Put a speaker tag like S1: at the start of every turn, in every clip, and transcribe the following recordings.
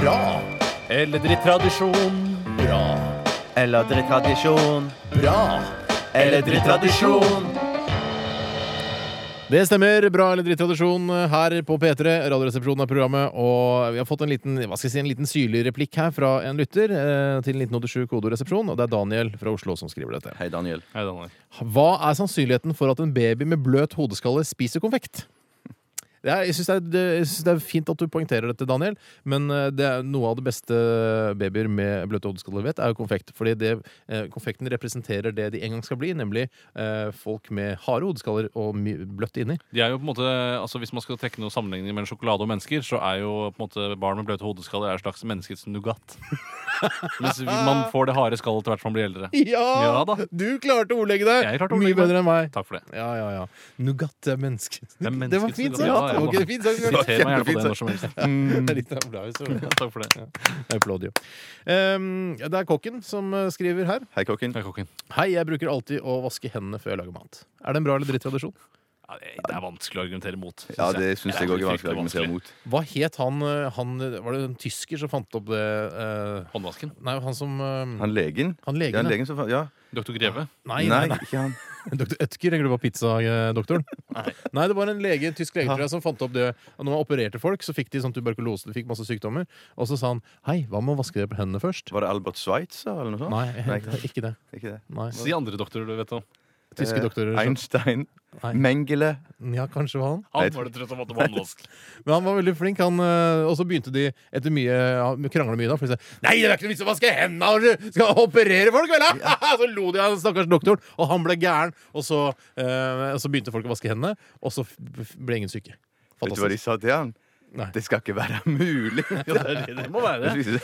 S1: Bra!
S2: Eller drittradisjon.
S1: Bra!
S3: Eller drittradisjon.
S1: Bra!
S3: Eller drittradisjon.
S4: Det stemmer. Bra eller drittradisjon her på P3, Radioresepsjonen er programmet. Og vi har fått en liten hva skal jeg si, en liten syrlig replikk her fra en lytter eh, til 1987 kodoresepsjon. Og det er Daniel fra Oslo som skriver dette.
S3: Hei, Daniel.
S2: Hei, Daniel.
S4: Hva er sannsynligheten for at en baby med bløt hodeskalle spiser konfekt? Det er, jeg syns det, er- det- jeg synes det er fint at du poengterer dette, Daniel, men eh, det er noe av det beste babyer med bløte hodeskaller vet, er jo konfekt. Fordi det, eh, konfekten representerer det de en gang skal bli, nemlig eh, folk med harde hodeskaller og my bløtt inni.
S2: De er jo på en måte, altså Hvis man skal trekke noen sammenligning mellom sjokolade og mennesker, så er jo på en måte barn med bløte hodeskaller er et slags menneskets nougat. Mens man får det harde skallet til hvert fall man blir eldre.
S4: Ja!
S2: Ja da.
S4: Du klarte å ordlegge deg!
S2: Jeg klarte å
S4: Mye
S2: ordlegge meg.
S4: bedre enn meg.
S2: Takk for det.
S4: Ja, ja, ja. Nougat er menneske.
S2: er
S4: det var
S2: menneskets
S4: fint sagt!
S2: nougat. Ja, ja,
S4: Det var ikke
S2: ja.
S4: det fint sagt.
S2: Siter meg gjerne på
S4: Kjempefint
S2: det
S4: sagt.
S2: når som helst.
S4: Det er litt applaus. og-
S2: Takk for det.
S4: Jeg applauder jo. Ehm, det er kokken som eh, skriver her.
S3: Hei, kokken.
S2: Takk, kokken.
S4: Hei, jeg bruker alltid å vaske hendene før jeg lager mat. Er det en bra eller dritt tradisjon?
S2: Ja, det det er vanskelig å argumentere mot. synes
S3: Ja,
S2: jeg.
S3: det syns jeg òg er
S2: fryktelig
S3: vanskelig å argumentere mot.
S4: Hva het han, eh, han Var det en tysker som fant opp det eh,
S2: Håndvasken.
S4: Nei, han som eh,
S3: Han legen?
S4: Han
S3: Ja,
S4: legen.
S3: han
S4: ja.
S3: legen som fa- Ja.
S2: Doktor Greve.
S4: Nei, nei,
S3: Nei,
S4: nei.
S3: ikke han.
S4: Dr. Ødker, jeg glemte på pizzadoktoren. nei. nei, det var en lege, en tysk lege tror jeg, som fant opp det. Og når man opererte folk, så fikk de sånn tuberkulose, de fikk masse sykdommer. Og så sa han hei, hva med å vaske dere på hendene først?
S3: Var det Albert Schweitzer eller noe sånt?
S4: Nei,
S3: ikke sant.
S4: ikke det.
S3: Ikke det.
S4: Nei.
S2: De andre doktorer du vet om.
S4: Tyske
S3: Eh,
S4: doktorer. så-
S3: Einstein.
S4: Nei.
S3: Mengele.
S4: Ja, kanskje var han.
S2: Han var det trøtt om at det var håndvask.
S4: Men han var veldig flink, han, øh, og så begynte de etter mye ja, krangle mye da. For de sa Nei, det er ikke noe vits i å vaske hendene! og Skal operere folk, vel? da?» så lo de av den stakkars doktoren, og han ble gæren. Og så, øh, og så begynte folk å vaske hendene, og så f- f- ble ingen syke.
S3: Vet du hva de sa til han?
S4: Nei.
S3: Det skal ikke være mulig!
S2: Det må være det.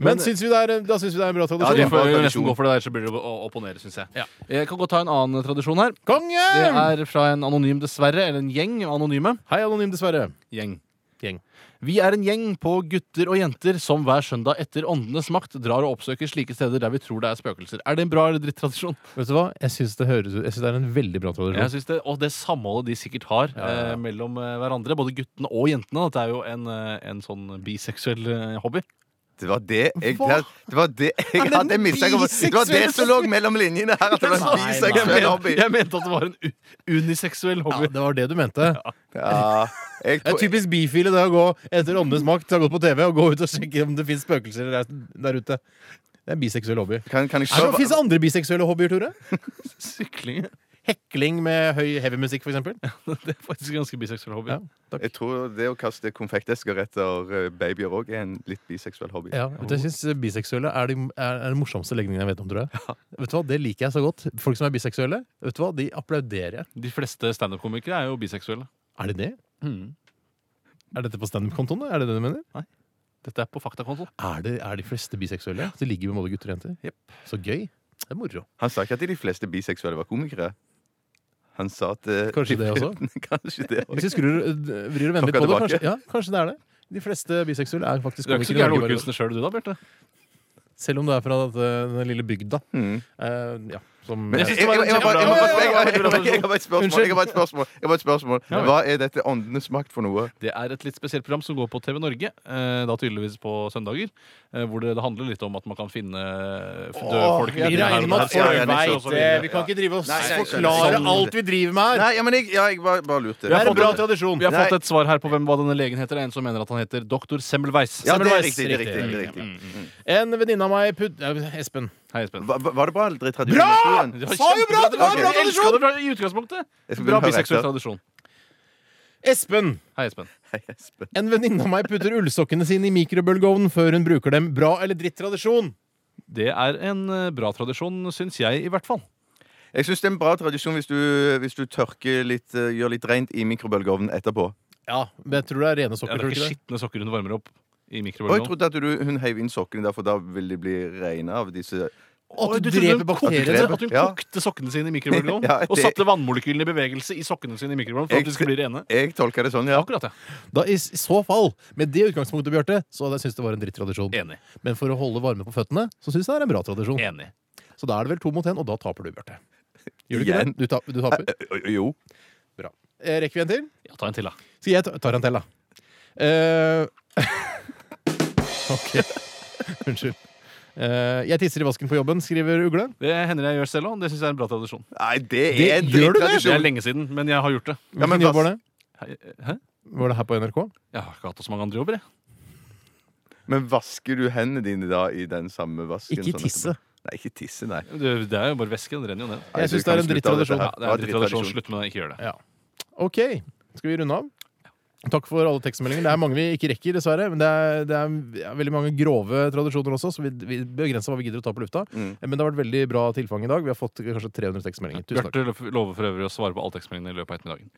S4: Men syns vi det er, da syns vi det er en bra
S3: Ja, det
S4: tradisjon.
S2: Vi
S3: er
S4: da.
S2: får jo
S3: tradisjon.
S2: nesten gå for det der, så blir det å å opponere, syns jeg. Jeg kan godt ta en annen tradisjon her.
S4: Konge!
S2: Det er fra en anonym, dessverre. Eller en gjeng anonyme.
S4: Hei, anonym, dessverre.
S2: Gjeng.
S4: Gjeng.
S2: Vi er en gjeng på gutter og jenter som hver søndag etter Åndenes makt drar og oppsøker slike steder der vi tror det er spøkelser. Er det en bra eller drittradisjon?
S4: Vet du hva? Jeg syns det høres ut Jeg syns det er en veldig bra
S2: Jeg
S4: tradisjon.
S2: synes det, Og det samholdet de sikkert har
S4: ja, ja.
S2: Eh, mellom eh, hverandre, både guttene og jentene. Dette er jo en, eh, en sånn biseksuell eh, hobby.
S3: Det var det jeg,
S4: Hva?
S3: det var det jeg
S4: det
S3: hadde
S4: en
S3: mistanke om. Det var det
S4: biseksuell
S3: som lå mellom linjene her! At det var
S4: Nei,
S3: en
S4: nei.
S2: Jeg,
S3: biseksuell
S2: men,
S3: hobby.
S2: jeg mente at det var en u uniseksuell
S4: Ja,
S2: hobby.
S4: det var det du mente.
S3: Ja, jeg
S4: Det er
S3: tror,
S4: typisk bifile det å gå etter åndenes makt, ha gått på TV og gå ut og sjekke om det fins spøkelser der, der ute. Det er en biseksuell hobby.
S3: kan, kan jeg
S4: Er det,
S3: se
S4: finnes det andre biseksuelle hobbyer, Tore?
S2: Sykling
S4: Hekling med høy heavymusikk, for eksempel.
S2: det er faktisk en ganske biseksuell hobby.
S4: Ja.
S3: Jeg tror det å kaste konfektesker etter eh, babyer òg er en litt biseksuell hobby.
S4: Ja, vet du, jeg synes biseksuelle er, de, er, er den morsomste legningen jeg vet om, tror jeg. Vet du hva, Det liker jeg så godt. Folk som er biseksuelle, vet du hva, de applauderer jeg.
S2: De fleste standup-komikere er jo biseksuelle.
S4: Er de det?
S2: Hmm.
S4: Er dette på standup-kontoen? da? Er det det du mener?
S2: Dette er på faktakonto.
S4: Er, det, er de fleste biseksuelle? Det ligger med både gutter og jenter. Så gøy. Det er moro.
S3: Han sa ikke at de fleste biseksuelle var komikere. Han sa at eh,
S4: Kanskje
S3: de-
S4: det også?
S3: Kanskje det også.
S4: Hvis vi skrur, d- vrir og vender
S3: Tråkker
S4: på det,
S3: tilbake.
S4: kanskje, ja, kanskje det er det. De fleste biseksuelle er faktisk
S2: Du er ikke så
S4: komikere i
S2: gæren
S4: Norge, bare-
S2: ordkunstner sjøl du da, Bjarte?
S4: Selv om du er fra dette, den lille bygda.
S3: Mm.
S4: Eh, ja, som
S2: Men
S3: Jeg-
S2: jeg
S3: jeg-
S2: synes det var
S3: jeg- jeg-
S2: en
S3: jeg- jeg- jeg- jeg-
S2: kjempebra-
S3: jeg- jeg- jeg- jeg har et spørsmål.
S4: Unnskyld.
S3: Jeg har et spørsmål. Jeg har et spørsmål.
S2: Ja.
S3: Hva er dette åndenes makt for noe?
S2: Det er et litt spesielt program som går på TV Norge, eh, da tydeligvis på søndager. Eh, hvor det, det handler litt om at man kan finne f- døde folk.
S4: Vi regner med
S3: Ja,
S4: at folk
S3: ja, ja, nettopp,
S4: veit
S3: og så
S4: det.
S3: videre.
S4: Vi kan ikke drive og
S3: Nei, nei,
S4: forklare
S3: sånn-
S4: alt vi driver med her.
S3: Nei, ja, men jeg, ja, jeg bare, bare lurte.
S4: Det er en
S2: fått-
S4: bra tradisjon.
S2: Vi har
S3: Nei.
S2: fått et svar her på hvem hva denne legen heter. Det er En som mener at han heter doktor Semmelweis.
S3: Ja, det er
S4: Semmelweis.
S3: riktig. Det er riktig, det er riktig.
S4: En venninne av meg put... Ja, Espen.
S2: Hei, Espen.
S3: Hva- hva- Var det bra eller drittradisjon?
S4: Bra!
S3: historien?
S2: Det var
S4: Sa jo bra at det var en
S2: kjempebra.
S4: bra tradisjon!
S2: Jeg elsket det bra i utgangspunktet.
S3: Jeg skal
S2: Bra
S3: begynne å høre
S2: biseksuell
S3: etter.
S2: tradisjon.
S4: Espen!
S2: Hei, Espen.
S3: Hei, Espen.
S4: En venninne av meg putter ullsokkene sine i mikrobølgeovnen før hun bruker dem. Bra eller dritt tradisjon?
S2: Det er en eh, bra tradisjon, syns jeg, i hvert fall.
S3: Jeg syns det er en bra tradisjon hvis du, hvis du tørker litt, eh, gjør litt rent i mikrobølgeovnen etterpå.
S4: Ja, men jeg tror det er rene
S2: Ja,
S4: sokker.
S2: det er
S4: tror du
S2: ikke
S4: ikke det?
S2: skitne sokker hun varmer opp i
S3: Og jeg
S2: mikrobølgeovnen.
S3: trodde at du, hun heiv inn sokkene der, for da vil de bli reine av disse
S4: Å,
S2: Oi,
S4: du
S2: trodde
S4: dreper altså.
S2: hun kokte-
S4: bakteriene.
S2: At hun
S3: Ja.
S2: kokte sokkene sine i mikrobølgeovnen?
S3: Ja,
S2: Og
S3: det-
S2: satte vannmolekylene i bevegelse i sokkene sine i mikrobølgeovnen? For at de skulle bli rene?
S3: Jeg tolker det sånn, ja.
S2: Akkurat, ja.
S4: Da, I s- i så fall, med det utgangspunktet, Bjarte, så hadde jeg syntes det var en drittradisjon.
S2: Enig.
S4: Men for å holde varme på føttene, så syns jeg det er en bra tradisjon.
S2: Enig.
S4: Så da er det vel to mot én, og da taper du, Bjarte. Gjør du ikke
S3: Igjen?
S4: det? Du, tap, du taper?
S3: Ø- ø- Jo.
S4: Bra. Eh, Rekker vi en til?
S2: Ja, ta en til, da.
S4: Skal jeg ta tar en til, da? Eh, Ok. Unnskyld. Eh, jeg tisser i vasken på jobben, skriver Ugle.
S2: Det hender jeg gjør selv òg. Det syns jeg er en bra tradisjon.
S3: Nei, det
S4: Det-
S3: er en
S4: gjør du det?
S2: Det er
S3: drittradisjon.
S2: lenge siden, men jeg har gjort det.
S3: Ja, men
S4: Hvilken jobb var det?
S2: eh, Hæ?
S4: Var det her på NRK?
S2: Jeg har ikke hatt så mange andre jobber, jeg.
S3: Men vasker du hendene dine da i den samme vasken?
S4: Ikke
S3: sånn
S4: tisse.
S3: etterpå? Nei, ikke tisse, nei.
S2: Det, det er jo bare væske. Den renner jo ned.
S3: Nei,
S4: Jeg
S3: du
S4: syns det
S3: kan
S4: er
S3: slutte
S4: en
S3: av dette
S4: drittradisjon.
S3: her.
S2: Ja, det er en
S3: Det var
S2: drittradisjon. Slutt med det. Ikke gjør det.
S4: Ok, skal vi runde av? Takk for alle tekstmeldinger. Det er mange vi ikke rekker, dessverre. Men det er, det er ja, veldig mange grove tradisjoner også, så vi, vi begrenser hva vi gidder å ta på lufta. Eh,
S3: Mm.
S4: Men det har vært veldig bra tilfang i dag. Vi har fått kanskje 300 tekstmeldinger. Tusen takk.
S2: Bjarte lo- lover for øvrig å svare på alle tekstmeldingene i løpet av ettermiddagen.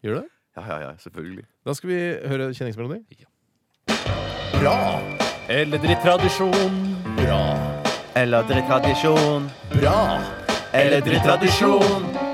S4: Gjør du det?
S3: Ja, ja, ja, selvfølgelig.
S4: Da skal vi høre kjenningsmelodi.
S2: Eller drittradisjon.
S1: Eller drittradisjon. Bra. Eller drittradisjon.